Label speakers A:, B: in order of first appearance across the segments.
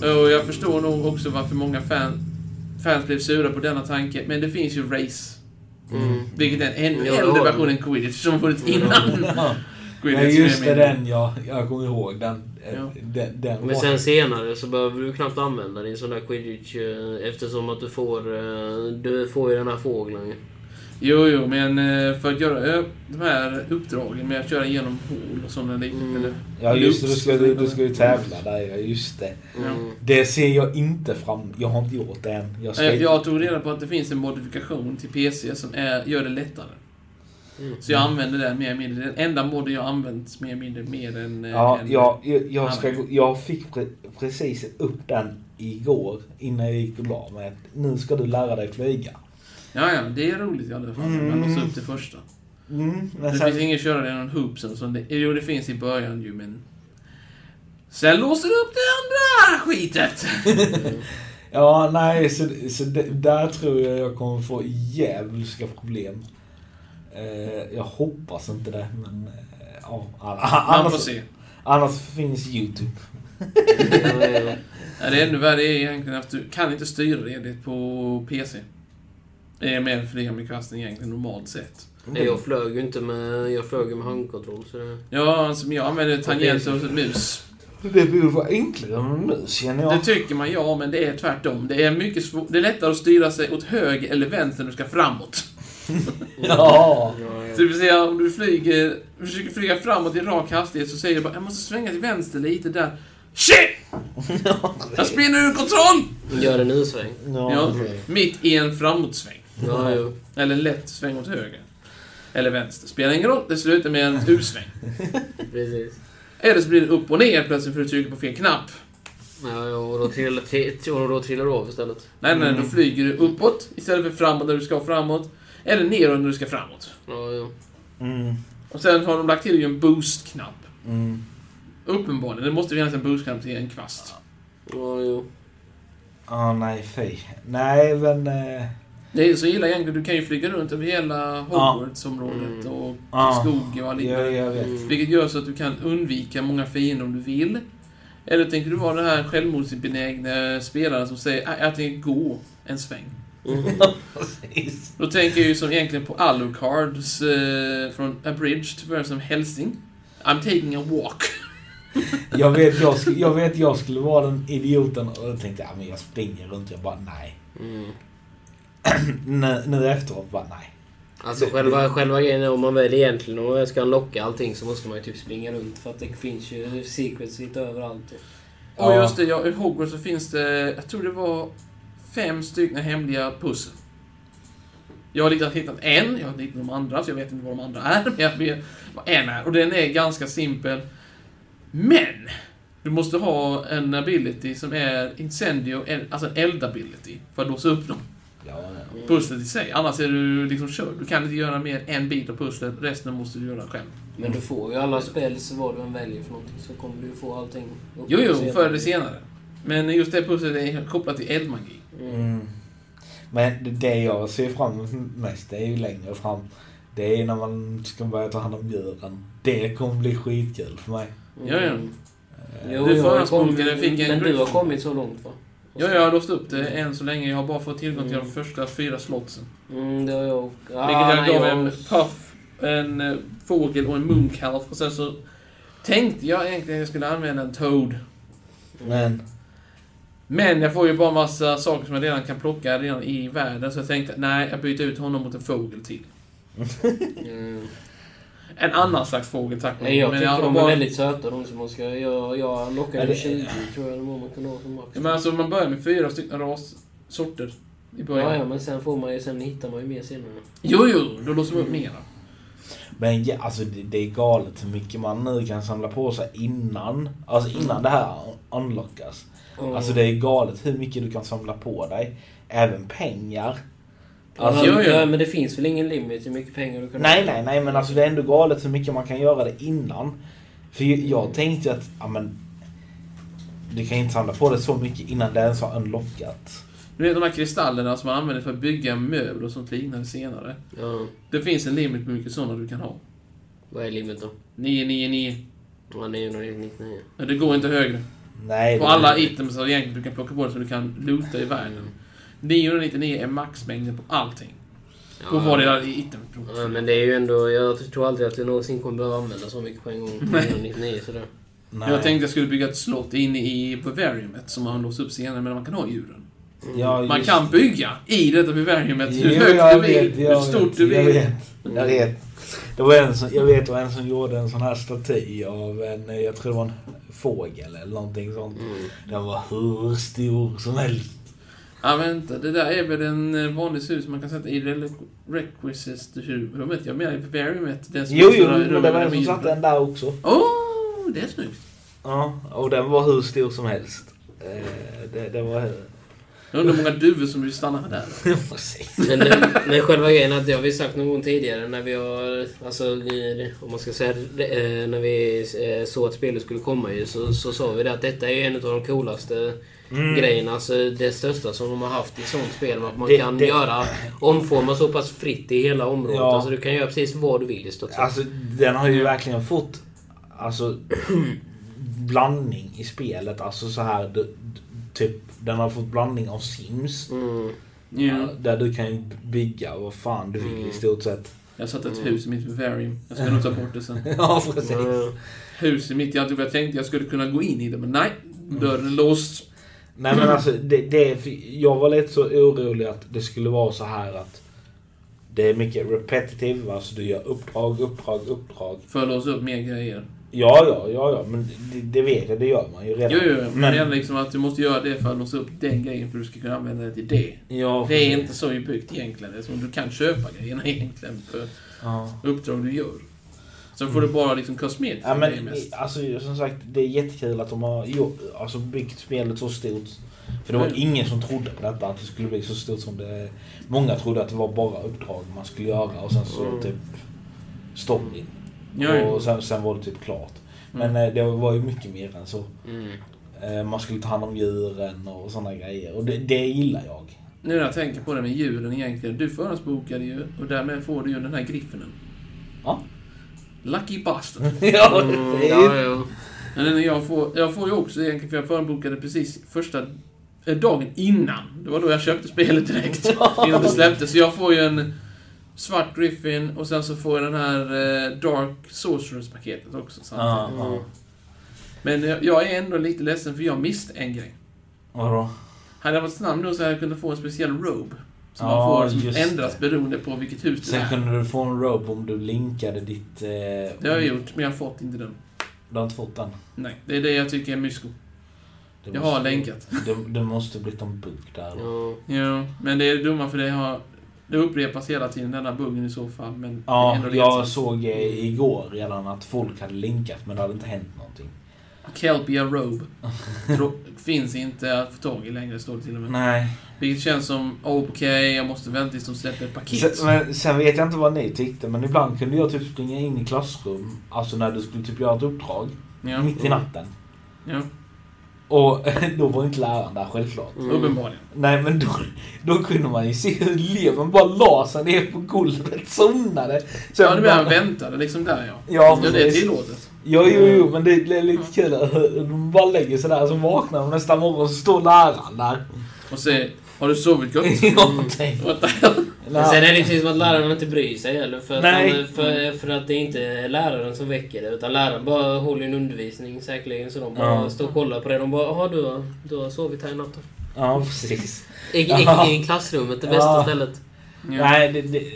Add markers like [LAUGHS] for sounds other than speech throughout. A: Och jag förstår nog också varför många fan, fans blev sura på denna tanke, men det finns ju race.
B: Mm.
A: Vilket är en ännu
C: Ja,
A: äldre
C: ja.
A: version än Quidditch som funnits innan.
D: Ja.
A: Quidditch
B: Nej, just
A: som jag
B: det,
A: menar.
B: den ja. Jag kommer ihåg den. eh,
A: Ja.
B: den, den
C: Men
B: var-
D: sen senare så behöver du knappt använda din sån där quidditch eh, eftersom att du får, eh, du får ju den här fågeln. ju.
A: Jo, jo, men eh, för att göra ö, de här uppdragen med att köra igenom hål och sådana
D: Mm.
A: liknande.
B: Ja just det, du ska, du, du
A: Loops.
B: ska ju tävla där ja, just det.
A: Ja.
D: Mm.
B: [LAUGHS] Det ser jag inte fram Jag har inte gjort det än. Jag ska...
A: Eh, Jag tog reda på att det finns en modifikation till PC som är, gör det lättare.
D: Mm.
A: Så jag använder den mer eller mindre. Den enda modden jag använt mer eller mindre mer än... eh,
B: Ja,
A: än-
B: jag, jag, jag, ska, gå- jag fick pre- precis upp den igår innan jag gick och la mig. att Nu ska du lära dig flyga.
A: ja, ja, det är roligt i alla fall. när Man
B: Mm.
A: låser upp det första.
B: Mm, men
A: Det
B: sen,
A: finns ingen körare än någon hoops eller sånt. Det- Jo, det finns i början ju, men... Sen låser du upp det andra skitet!
B: ja, nej, så, så det, där tror jag jag kommer få djävulska problem. Eh, jag hoppas inte det, men... eh, Ja, an-
A: Man får
B: annars,
A: se.
B: annars finns YouTube.
D: Ja, ja.
A: Ja, det är ännu värre är egentligen att du kan inte styra det på PC. Det är mer för det med kasten egentligen, normalt sett.
D: Nej, jag flög ju inte med, jag flög ju med handkontroll så det...
A: Ja, alltså, men jag använder tangent och mus.
B: Det borde vara enklare med mus, känner jag.
A: Det tycker man ja, men det är tvärtom. Det är mycket svå- Det är lättare att styra sig åt höger eller vänster när du ska framåt.
B: [LAUGHS] Ja. Typ.
D: Ja, ja.
A: Så det vill säga, om du flyger, försöker flyga framåt i rak hastighet så säger du bara jag måste svänga till vänster lite där. Shit! Jag spinner ur kontroll!
D: Gör en U-sväng.
B: Ja,
A: Ja,
B: okej.
A: mitt i en framåtsväng.
D: Ja, ja.
A: Eller en lätt sväng åt höger. Eller vänster. Spelar ingen roll, det slutar med en U-sväng.
D: Precis.
A: Eller så blir det upp och ner plötsligt för att du trycker på fel knapp.
D: Ja, ja, och då trillar, t- och då trillar du av istället.
A: Nej, nej,
B: Mm.
A: då flyger du uppåt istället för framåt när du ska framåt. Eller neråt när du ska framåt.
D: Ja, ja.
B: Mm,
A: Och sen har de lagt till ju en boost-knapp.
B: mm.
A: Uppenbarligen, det måste finnas en boost-knapp till en kvast.
D: Ja, ja.
B: Ah, nej, fy. Nej, men... Eh,
A: Det är så illa egentligen, du kan ju flyga runt över hela Hogwarts-området
D: Mm.
A: och
B: Ja.
A: skog och allt
B: jag,
A: liknande.
B: jag vet.
D: Mm.
A: Vilket gör så att du kan undvika många fiender om du vill. Eller tänker du vara den här självmordsbenägna spelaren som säger "Ah, jag tänker gå en sväng?
D: Mm.
B: Precis.
A: Då tänker jag ju som egentligen på Alucards eh, från A Bridge to Verse som Helsing. I'm taking a walk.
B: Jag vet jag, sk- jag vet jag skulle vara den idioten och jag tänkte ja, men jag springer runt. Jag bara nej. [CLEARS THROAT]
D: Mm.
B: nu, nu efteråt bara nej.
D: Alltså
B: Det-
D: själva, själva grejen är om man väl egentligen om man ska locka allting så måste man ju typ springa runt för att det finns ju secrets lite överallt.
A: Och
B: Ja.
A: just det, ja, i Hogwarts så finns det, jag tror det var fem stycken hemliga pussel. Jag har liksom hittat en, jag har inte hittat de andra, så jag vet inte vad de andra är. [LAUGHS] Men jag vet vad en är. Och den är ganska simpel. Men! Du måste ha en ability som är incendio, en- alltså en eld-ability, för att låsa upp dem.
B: Ja, ja.
A: pusslet i sig. Annars är du liksom körd. Du kan inte göra mer än en bit av pusslet, resten måste du göra själv.
D: Men du får ju alla spels vad du än väljer för någonting så kommer du ju få allting. upp-
A: Jo, jo, förr eller senare. Men just det pusslet är kopplat till eldmagi.
B: Mm. Men det- det jag ser fram emot mest det är ju längre fram. Det är när man ska börja ta hand om djuren. Det kommer bli skitkul för mig.
A: Ja, ja.
D: Mm.
B: Eh,
D: Jo,
A: Du
D: jag har
A: förespråkade
D: kommit-
A: fick en
D: Men du har
A: Gryffindor.
D: kommit så långt va?
A: Ja, jag har låst upp det än så länge. Jag har bara fått tillgång till de
D: Mm.
A: första fyra slottsen.
D: Mm, det har jag också. Ah,
A: vilket jag
D: nej,
A: gav en puff, en eh, fågel och en mooncalf. Och sen så tänkte jag egentligen att jag skulle använda en toad.
B: Men
A: Men jag får ju bara massa saker som jag redan kan plocka redan i världen. Så jag tänkte, nej, jag byter ut honom mot en fågel till.
D: Mm.
A: En annan slags fågel, tack
D: Nej, jag
A: Men
D: tycker
A: har
D: de är
A: bara-
D: väldigt söta de som man ska... Jag, jag
B: Ja,
D: lockade
B: det-
D: 20 tror jag det var man kunde ha som max.
A: Ja, Men alltså man börjar med fyra stycken rassorter i början.
D: Ja, ja, men sen får man ju... Sen hittar man ju mer senare.
A: Jo, jo, då låser man upp mera.
B: Men ja, alltså det, det är galet hur mycket man nu kan samla på sig innan. Alltså innan det här unlockas.
D: Mm.
B: Alltså det är galet hur mycket du kan samla på dig. Även pengar. Alltså,
D: ja,
A: Jo, jo.
D: ja, men det finns väl ingen limit hur mycket pengar du kan
B: nej, nej, nej men alltså det är ändå galet hur mycket man kan göra det innan. För ju- jag tänkte ju att, ja men. Du kan inte samla på dig så mycket innan det ens har unlockat.
A: Du vet de här kristallerna som man använder för att bygga möbler och sånt liknande senare.
D: Ja,
A: Det finns en limit på hur mycket sådana du kan ha.
D: vad är limit då?
A: 999.
D: Ja, 999.
A: Men Det går inte högre.
B: Nej,
A: På
B: det-
A: alla items som egentligen du kan plocka på dig som du kan loota i världen. 999 är maxmängden på allting. På
D: Ja.
A: varje item.
D: Ja, men det är ju ändå... Jag tror aldrig att jag någonsin kommer behöva använda så mycket på en gång. 99, sådär.
B: Nej.
A: Jag tänkte jag skulle bygga ett slott inne i Bavariumet som man låser upp senare, men man kan ha djuren.
D: Mm.
B: Ja,
A: Man
B: just-
A: kan bygga i detta Bavariumet
B: Jo,
A: hur
B: jag
A: högt du vill,
B: vet, jag
A: hur stort
B: vet,
A: du
B: Jag
A: vill.
B: vet. Jag vet. Det var en som, jag vet det var en som gjorde en sån här staty av en, eh, jag tror det var en fågel eller någonting sånt.
D: Mm.
B: Den var hur stor som helst.
A: Ja, vänta. Det där är väl en eh, vanlig sus man kan sätta i rele- requisite-rummet. Jag menar i Bavariumet. Den som
B: Jo,
A: är
B: jo,
A: sådär i
B: men det
A: rummet
B: var
A: där
B: en
A: med
B: som
A: djuren.
B: satte den där också.
A: Åh, det är snyggt.
B: Ja, och den var hur stor som helst. Eh, Det, det var...
A: Jag undrar hur många duvor som vill stanna där.
B: Precis.
D: Men, men själva grejen är att det har vi sagt någon gång tidigare när vi har, alltså i- om man ska säga eh, när vi eh, såg att spelet skulle komma ju så, så sa vi det att detta är en av de coolaste
B: Mm.
D: grejerna, alltså det största som de har haft i sånt spel. Att man
B: Det-
D: kan
B: det-
D: göra, omforma så pass fritt i hela området.
B: Ja.
D: Alltså du kan göra precis vad du vill i stort sett.
B: Alltså, den har ju verkligen fått... Alltså... blandning i spelet. Alltså så här... d- d- Typ, den har fått blandning av Sims.
D: Mm.
A: Ja.
B: Ja, Där du kan ju bygga vad fan du vill i stort sett. [LAUGHS]
A: Jag satte ett hus i mitt Bavarium. Jag ska nog ta bort det sen.
B: ja, precis.
D: Mm.
A: Hus i mitt. Jag tror jag tänkte jag skulle kunna gå in i det, men nej. Dörren är låst.
B: Nej men alltså, det, det, jag var lite så orolig att det skulle vara så här att det är mycket repetitive, alltså du gör uppdrag, uppdrag, uppdrag.
A: För att låsa upp mer grejer.
B: Ja, ja, ja, ja, men det, det vet jag, det gör man ju redan.
A: Jo, jo, men det är
B: men,
A: liksom att du måste göra det för att låsa upp den grejen för att du ska kunna använda det till det.
B: ja,
A: Det är inte så byggt egentligen. Det är som du kan köpa grejerna [LAUGHS] egentligen för
B: Ja.
A: uppdrag du gör. Sen får du bara liksom kosmetiska
B: Mm. Ja,
A: grejer
B: men,
A: mest.
B: alltså, som sagt, det är jättekul att de har gjort, alltså, byggt spelet så stort. För det var
A: Mm.
B: ingen som trodde på detta, att det skulle bli så stort som det... Många trodde att det var bara uppdrag man skulle göra och sen så
D: Mm.
B: typ storyn.
A: Ja, ja.
B: Och sen, sen var det typ klart. Men
A: Mm.
B: eh, det var ju mycket mer än så.
D: Mm.
B: Eh, man skulle ta hand om djuren och sådana grejer. Och det, det gillar jag. [LAUGHS]
A: Nu när jag tänker på det med djuren egentligen. Du förhandsbokade ju och därmed får du ju den här griffinen.
B: Ja.
A: Lucky bastard.
B: ja,
D: Mm,
B: det är
D: ja,
B: ju...
D: ja.
A: Men den jag får, jag får ju också egentligen, för jag förhandsbokade precis första eh, dagen innan. Det var då jag köpte spelet
B: [LAUGHS]
A: direkt. Innan det släpptes. Så jag får ju en svart griffin och sen så får jag den här eh, Dark Sorcerers-paketet också.
B: Ja,
A: samtidigt.
D: Mm.
B: ja.
A: Men jag, jag är ändå lite ledsen för jag miste en grej.
B: Vadå?
A: Hade jag varit snabb nog så hade jag kunnat få en speciell robe. Som
B: Ja,
A: man får som
B: just
A: ändras
B: det.
A: beroende på vilket hus det
B: Sen
A: är.
B: kunde du få en robe om du linkade ditt... Eh, det
A: Det har jag gjort, men jag har fått inte den.
B: Du har inte fått den?
A: Nej, det är det jag tycker är mysko.
B: Det
A: Jag
B: måste-
A: har länkat.
B: Det, det måste blivit en bugg där. Ja,
D: Ja.
A: Jo, men det är det dumma för det har... Det upprepas hela tiden, denna buggen i så fall. Men det är ändå
B: jag
A: ledsamt.
B: såg eh, igår redan att folk hade linkat men det hade inte hänt någonting.
A: Kelpia
B: [LAUGHS]
A: Robe. Dro- finns inte att få tag i längre, står det till och med.
B: Nej.
A: Vilket känns som, okej, jag måste vänta tills de släpper ett paket.
B: Sen, men, sen vet jag inte vad ni tyckte men ibland kunde jag typ springa in i klassrum, alltså när du skulle typ göra ett uppdrag,
A: Ja,
B: mitt i natten.
A: ja.
B: Och [LAUGHS] då var inte läraren där självklart.
D: Mm.
A: Uppenbarligen.
B: Nej men då, då kunde man ju se hur eleven bara la sig ner på golvet, somnade. Sen
A: Ja, det
B: bara-
A: menar, vänta, det är liksom där ja.
B: Ja,
A: ja det är
B: precis.
A: tillåtet.
B: Jo, jo, jo,
A: Mm.
B: men det det är lite kul att de bara lägger sig där så vaknar de nästa morgon så står
A: [LAUGHS]
B: läraren där.
A: Och säger, har du sovit gott?
B: Ja, tänk.
A: Mm. What the hell?
D: Men sen är det precis som att läraren inte bryr sig heller. För att,
B: Nej.
D: han, för, för att det inte är läraren som väcker det. Utan läraren bara håller en undervisning säkerligen. Så de bara
B: Ja.
D: står och kollar på det. De bara ”Jaha, du, har- du har sovit här i natt då?”
B: Ja, precis.
D: I,
B: Ja.
D: i, i klassrummet, det
B: Ja.
D: bästa stället.
A: Ja.
B: Nej, det, det.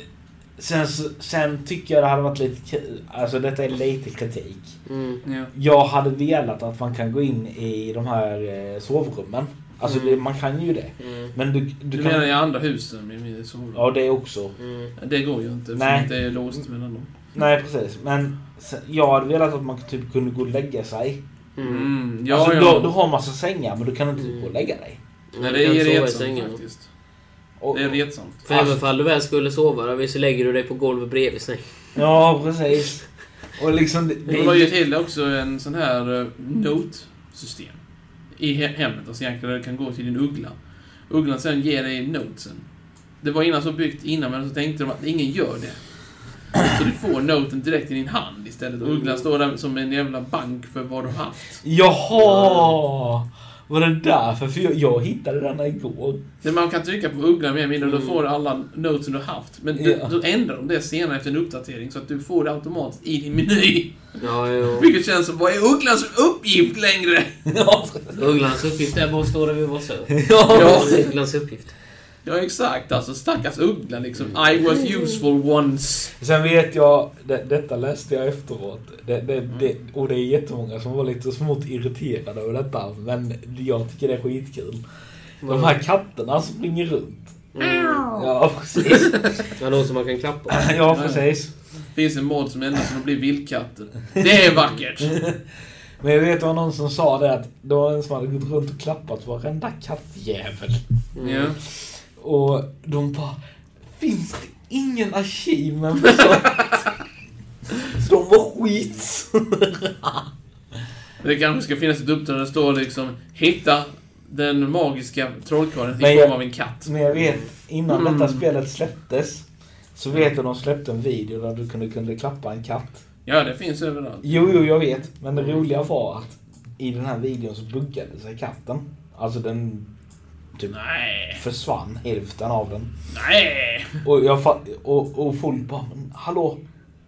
B: Sen, så- sen tycker jag det hade varit lite kul. Alltså detta är lite kritik.
D: Mm.
A: Ja.
B: Jag hade velat att man kan gå in i de här eh, sovrummen. Alltså
D: Mm.
B: det, man kan ju det.
D: Mm.
B: Men du,
A: Du,
B: du
A: menar
B: kan...
A: i andra husen? I min sovrum?
B: Ja, det också.
D: Mm.
A: Det går ju inte,
B: Nej.
A: för det är låst mellan dem.
B: Nej, precis. Men sen, jag hade velat att man typ kunde gå och lägga sig.
D: Mm.
A: Mm. Ja,
B: alltså,
A: ja.
B: Du, du har massa sängar men du kan inte typ
D: Mm.
B: gå och lägga dig.
A: Nej,
D: Du
A: det
D: kan
A: är
D: sova i
A: retsamt
D: sängen.
A: faktiskt.
B: Och,
A: Det är retsamt.
D: För även fall du väl skulle sova där, så lägger du dig på golvet bredvid sängen.
B: Ja, precis. Och liksom... Det,
A: Det var ju till också en sån här eh, notsystem. I he- hemmet, alltså egentligen, där det kan gå till din uggla. Ugglan sen ger dig notesen. Det var innan så byggt innan, men så tänkte de att ingen gör det. Så du får noten direkt i din hand istället. Och Ugglan står där som en jävla bank för vad du har haft.
B: Jaha! Var det därför? För jag, jag hittade denna igår.
A: Men man kan trycka på Ugglan mer eller mindre och då
D: Mm.
A: får du alla noten du har haft. Men du,
B: Ja.
A: då ändrar de det senare efter en uppdatering så att du får det automatiskt i din meny.
D: Ja, jo.
A: Vilket känns som, vad är Ugglans uppgift längre?
B: ja,
D: Ugglans uppgift är bara att stå där vid vår sö.
A: Ja.
D: Ugglans uppgift.
A: Ja, exakt alltså. Stackars Ugglan liksom. I was useful once.
B: Sen vet jag, det, detta läste jag efteråt, det, det, det, och det är jättemånga som var lite smått irriterade över detta, men jag tycker det är skitkul.
D: Mm.
B: De här katterna som springer runt. Ja, precis.
D: Ja, någon som man kan klappa.
B: Ja, precis.
A: Finns en mod som ändrar så de blir vildkatter. Det är vackert!
B: Men jag vet det var någon som sa det att det var en som hade gått runt och klappat varenda kattjävel.
A: Ja.
B: Och de bara, finns det ingen achievement för sånt?
A: [LAUGHS]
B: Så de var skits.
A: Det kanske ska finnas ett uppdrag där det står liksom Hitta den magiska trollkarlen
B: Men
A: i
B: jag-
A: form av en katt.
B: Men jag vet, innan detta
A: Mm.
B: spelet släpptes så vet jag de släppte en video där du kunde, kunde klappa en katt.
A: Ja, det finns överallt.
B: Jo, jo, jag vet. Men det roliga var att i den här videon så buggade sig katten. Alltså den typ
A: Nej,
B: försvann hälften av den.
A: nej!
B: Och, jag fa- och, och folk bara, "Men hallå?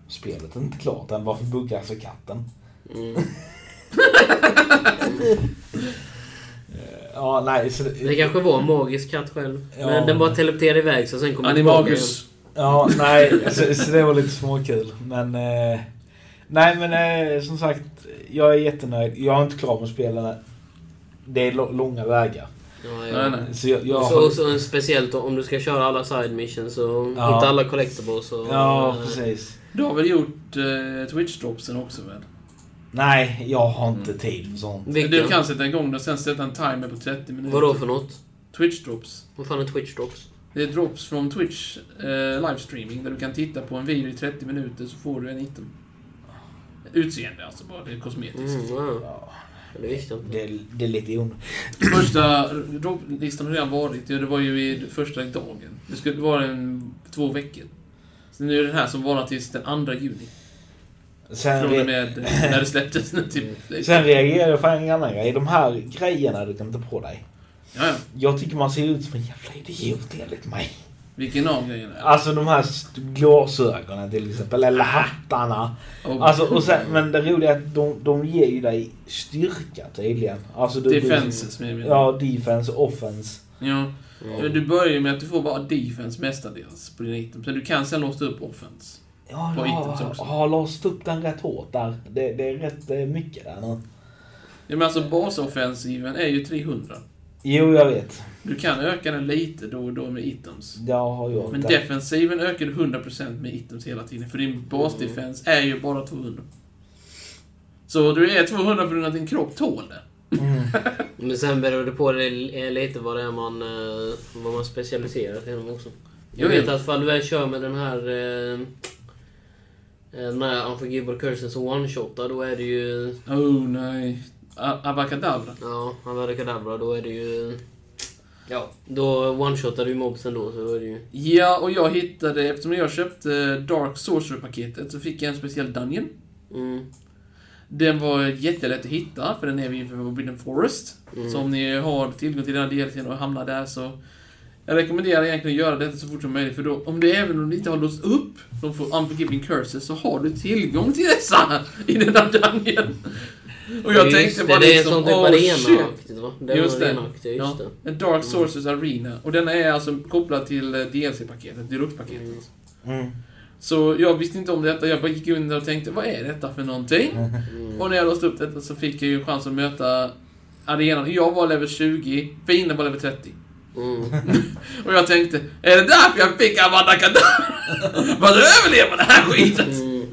B: Spelet är inte klart än, varför buggar sig katten?
D: Mm.
B: Eh, [LAUGHS] Ja, nej, så...
D: Det kanske var en magisk katt själv.
B: Ja.
D: Men den bara teleporterade iväg så sen kom den tillbaka igen.
A: Animagus.
B: Ja, nej, så, så det var lite småkul. Men... Eh, nej, men eh, som sagt, jag är jättenöjd. Jag är inte klar med spelen. Det är lå- långa vägar.
D: Ja,
A: Nej,
D: ja.
A: nej.
B: Så jag, jag
D: Så, så speciellt om du ska köra alla side missions och
B: Ja.
D: hitta alla collectibles och... eh,
B: Ja, precis.
A: Du har väl gjort eh, Twitch-dropsen också väl?
B: Nej, jag har inte
D: Mm.
B: tid för sånt.
D: Vilken?
A: Du kan sätta igång det och sen sätta en timer på 30 minuter.
D: Vadå för något?
A: Twitch-drops.
D: Vad fan är Twitch Drops?
A: Det är drops från Twitch eh, livestreaming där du kan titta på en video i 30 minuter så får du en item. Utseende alltså, bara det är kosmetiskt.
D: Mm, ja.
B: Ja,
D: Det visste jag inte.
B: det, det är lite onödigt.
A: Första dropplistan har redan varit, ja, det var ju i första dagen. Det skulle vara en, två veckor. Så nu är det den här som varar tills den 2 juni.
B: Sen,
A: Från och
B: re-
A: med
B: [LAUGHS]
A: eh, när det släpptes [LAUGHS] nu typ. Ja,
B: sen reagerar jag för en annan grej. De här grejerna du kan ta på dig.
A: ja.
B: Jag tycker man ser ut som en jävla idiot enligt mig.
A: Vilken av grejerna? är det?
B: Alltså de här st- glasögonen till exempel,
A: Ah.
B: eller hattarna.
A: Och
B: Alltså, och sen, men det roliga är att de, de ger ju dig styrka tydligen. Alltså,
A: [LAUGHS]
B: du,
A: defenses med
B: Du,
A: mig.
B: ja, defense, offense.
A: ja. Men
D: Mm.
A: Du börjar ju med att du får bara defense mestadels på din item. Sen du kan sen låsa upp offense.
B: Ja,
A: På
B: jag
A: items
B: har,
A: också.
B: har låst upp den rätt hårt där. Det, det är rätt eh, mycket där nu.
A: Ja, men alltså basoffensiven är ju 300.
B: Jo, jag vet.
A: Du kan öka den lite då och då med items.
B: Det har jag.
A: Men
B: Det-
A: defensiven ökar du 100% med items hela tiden, för din basdefens är ju bara 200. Så du är 200 på grund av att din kropp tål det.
B: Mm.
D: Men sen beror det på det, eh, lite vad det är man, eh, vad man specialiserar sig inom också. Jag
A: Jo, jo.
D: vet att fall du väl kör med den här... eh, eh, Den här Unforgivable Curses som one-shotar, då är det ju...
A: Oh nej. A- Abacadabra.
D: Ja, han verkar kadabra, då är det ju... Ja. Då one-shotar du ju mobsen då, så då är det ju...
A: Ja, och jag hittade, eftersom jag köpte Dark Sorcerer-paketet, så fick jag en speciell Dungeon.
D: Mm.
A: Den var jättelätt att hitta, för den är vid Forbidden Forest.
D: Mm.
A: Så om ni har tillgång till den här delen och hamnar där så... Jag rekommenderar egentligen att göra detta så fort som möjligt, för då, om det även om du inte har låst upp de får unforgiving curses, så har du tillgång till dessa i den där dungeon. Och jag
D: Just
A: tänkte
D: det,
A: bara
D: det är en
A: liksom,
D: sån typ
A: oh shit!
D: arenaaktigt va? Det är
A: Just
D: just
A: det.
D: arenaaktigt, det. just
A: Ja,
D: det. Mm.
A: en Dark Sources Arena. Och den är alltså kopplad till eh, DLC-paketet, Deluxe-paketet.
D: Mm.
B: Mm.
A: Så jag visste inte om detta, jag bara gick in där och tänkte, vad är detta för någonting?
D: Mm.
A: Och när jag låste upp detta så fick jag ju chans att möta arenan. Jag var level 20, fienden var level 30. [LAUGHS]
D: Mm.
A: Och jag tänkte, är det därför jag fick Abadakadabra? [LAUGHS] Vad överlever den här skiten?
D: Mm.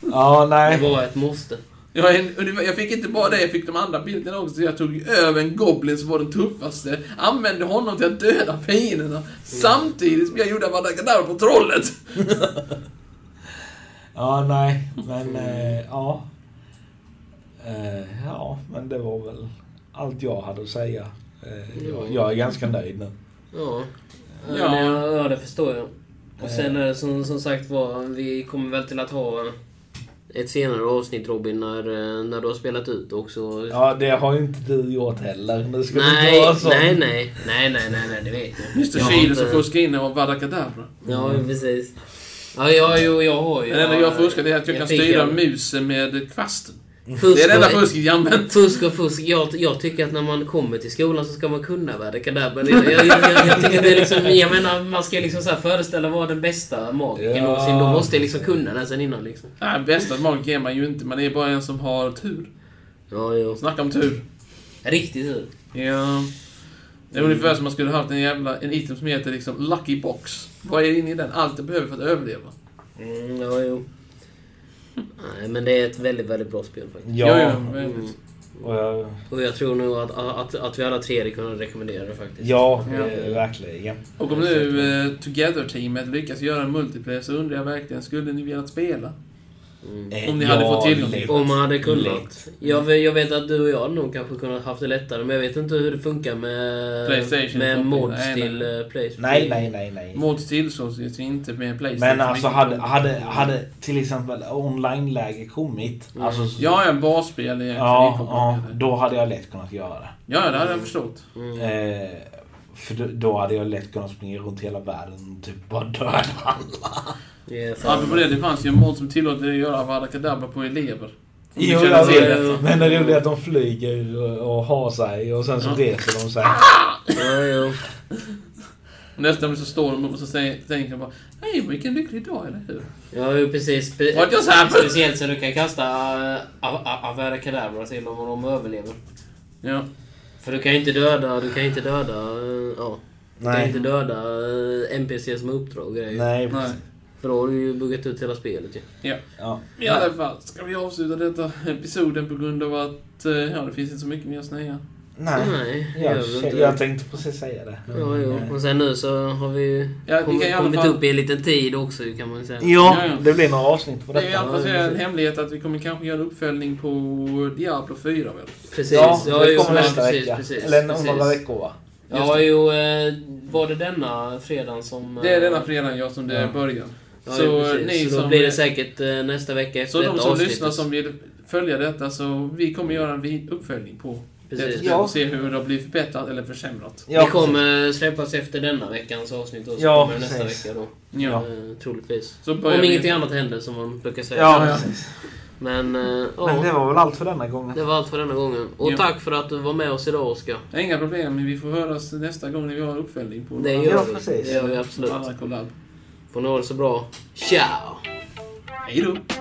B: Ja,
D: Det
B: nej.
D: var ett måste.
A: Jag, är en- och det var- jag fick inte bara det, jag fick de andra bilderna också. Jag tog ju över en goblin som var den tuffaste, använde honom till att döda fienderna,
D: Mm.
A: samtidigt som jag gjorde Abadakadabra på trollet.
B: Ja, nej. Men, eh, ja. Eh, ja, men det var väl allt jag hade att säga. Eh, jag, jag är ganska nöjd nu.
D: Ja.
A: Ja. Eh.
D: Ja. Det, ja, det förstår jag. Och sen är det som, som sagt var, vi kommer väl till att ha ett senare avsnitt Robin, när, eh, när du har spelat ut också.
B: Ja, det har ju inte du gjort heller. Nu ska vi
D: nej,
B: inte vara så.
D: nej, nej, nej, nej, nej, nej, det vet jag.
A: Mr
D: Jag har
A: Chile
D: inte-
A: alltså. som fuskar in av Vadakadabra.
D: Ja, precis. Ja, ja, jo, jag har ju...
A: Det enda jag fuskar det är att jag, kan
D: fick
A: styra
D: en-
A: musen med kvasten.
D: Fusk
A: Det är det enda
D: och-
A: fusket jag använt.
D: Fusk och fusk. Jag, jag tycker att när man kommer till skolan så ska man kunna värda kadaver. Jag, jag, jag, jag tycker att det är liksom... Jag menar, man ska liksom så här föreställa vara den bästa magikern
B: Ja.
D: någonsin. Då måste jag liksom kunna den sen innan liksom.
A: Nej, bästa magiker är man ju inte. Man är bara en som har tur.
D: Ja, jo.
A: Snacka om tur.
D: Riktigt hur.
A: Ja. Det är ungefär som man skulle ha haft en jävla en item som heter liksom Lucky Box. Vad är inne i den? Allt du behöver för att överleva.
D: Mm, ja, jo. Nej, men det är ett väldigt, väldigt bra spel faktiskt.
A: Jo,
B: Ja, Mm.
A: jo, men-
B: och jag,
D: Och jag tror nog att, att, att vi alla tre hade kunnat rekommendera det faktiskt.
B: ja,
A: Ja.
B: eh, verkligen.
A: Och om nu eh, Together-teamet lyckas göra en multiplayer så undrar jag verkligen, skulle ni velat spela?
B: Eh,
A: Om ni hade fått tillgång till-
B: lätt.
D: Om man hade kunnat.
B: Lätt.
D: Jag, vet- jag vet att du och jag hade nog kanske kunnat haft det lättare, men jag vet inte hur det funkar med,
A: PlayStation
D: med
A: shopping.
D: mods
A: Nej, nej.
D: till eh, Playstation.
B: Nej, nej, nej, nej.
A: Mods tillsås ju inte med Playstation.
B: Men alltså hade, hade, hade till exempel online-läge kommit.
A: Mm.
B: Alltså, så-
A: Jag är en basspel i
B: ja, ja, då hade jag lätt kunnat göra det.
A: ja, det hade jag förstått.
B: Eh, för då, då hade jag lätt kunnat springa runt hela världen och typ bara döda alla.
D: Ja, fan.
A: Apropå det, det fanns ju en mod som tillåter dig att göra avadakadabra på elever. Ni
B: Jo,
A: känner
B: jag
A: till
B: vet.
A: detta.
B: Men det roliga är att de flyger och, och har sig och sen så
A: Ja.
B: reser de sig.
D: Ja, jo.
A: Nästa gång så står de upp och så säger, tänker de bara Hej, vilken lycklig dag, eller hur?
D: Ja, jo, precis. Spe-
A: What just happened?
D: Speciellt så du kan kasta uh, Avada Kedavra till dem om de överlever.
A: Ja.
D: För du kan ju inte döda, du kan ju inte döda, eh, ja. Du kan ju
B: Nej.
D: inte döda eh, NPCs med uppdrag och grejer.
B: Nej,
A: Nej.
B: precis.
D: För då har du ju buggat ut hela spelet ju.
A: Ja.
B: Ja.
A: I alla fall, ska vi avsluta detta episoden på grund av att eh, ja, det finns inte så mycket mer att säga.
B: Nej.
D: Nej, det gör
B: Jag,
D: vi inte.
B: jag tänkte precis säga det.
D: Ja,
B: Mm.
D: jo. Och sen nu så har vi ju
A: Ja, vi
D: kommit,
A: kan i alla
D: kommit
A: fall-
D: upp i en liten tid också kan man ju säga.
A: Ja, ja.
B: Ja, det blir några avsnitt på
A: Det är i
B: detta.
A: alla fall
D: Ja, det är
A: en
D: precis.
A: hemlighet att vi kommer kanske göra en uppföljning på Diablo 4 väl?
D: Precis.
B: Ja, det
D: jo,
B: kommer
D: men
B: nästa
D: precis,
B: vecka.
D: Precis,
B: Eller om
D: precis.
B: några veckor va?
D: Ja, jo, eh, var det denna fredagen som... eh,
A: Det är denna fredagen jag som det är
B: Ja.
A: början.
D: Ja,
A: så
D: så, precis.
A: ni
D: så då
A: som-
D: blir det säkert eh, nästa vecka efter
A: Så de
D: detta
A: som
D: avsnittet.
A: lyssnar som vill följa detta så vi kommer göra en vid- uppföljning på
D: Precis.
A: detta och
B: Ja.
A: se hur det har blivit förbättrat eller försämrat.
B: Ja,
D: det kommer släppas efter denna veckans avsnitt och så
B: Ja,
D: kommer det nästa
B: precis.
D: vecka då.
A: Ja.
D: Eh, troligtvis.
A: Så börjar
D: Om
A: vi-
D: ingenting annat händer som man brukar säga.
B: Ja,
A: ja.
B: precis.
D: Men, eh, ja,
B: Men det var väl allt för denna
D: det
B: gången.
D: var allt för denna gången. Och
A: Ja.
D: tack för att du var med oss idag Oskar.
A: Inga problem, men vi får höras nästa gång när vi har en uppföljning på
D: Det
A: våra-
D: gör
B: Ja,
D: vi.
B: precis.
D: Det gör vi absolut.
A: alla kollab.
D: Får ni ha det så bra. Ciao!
A: Hej då!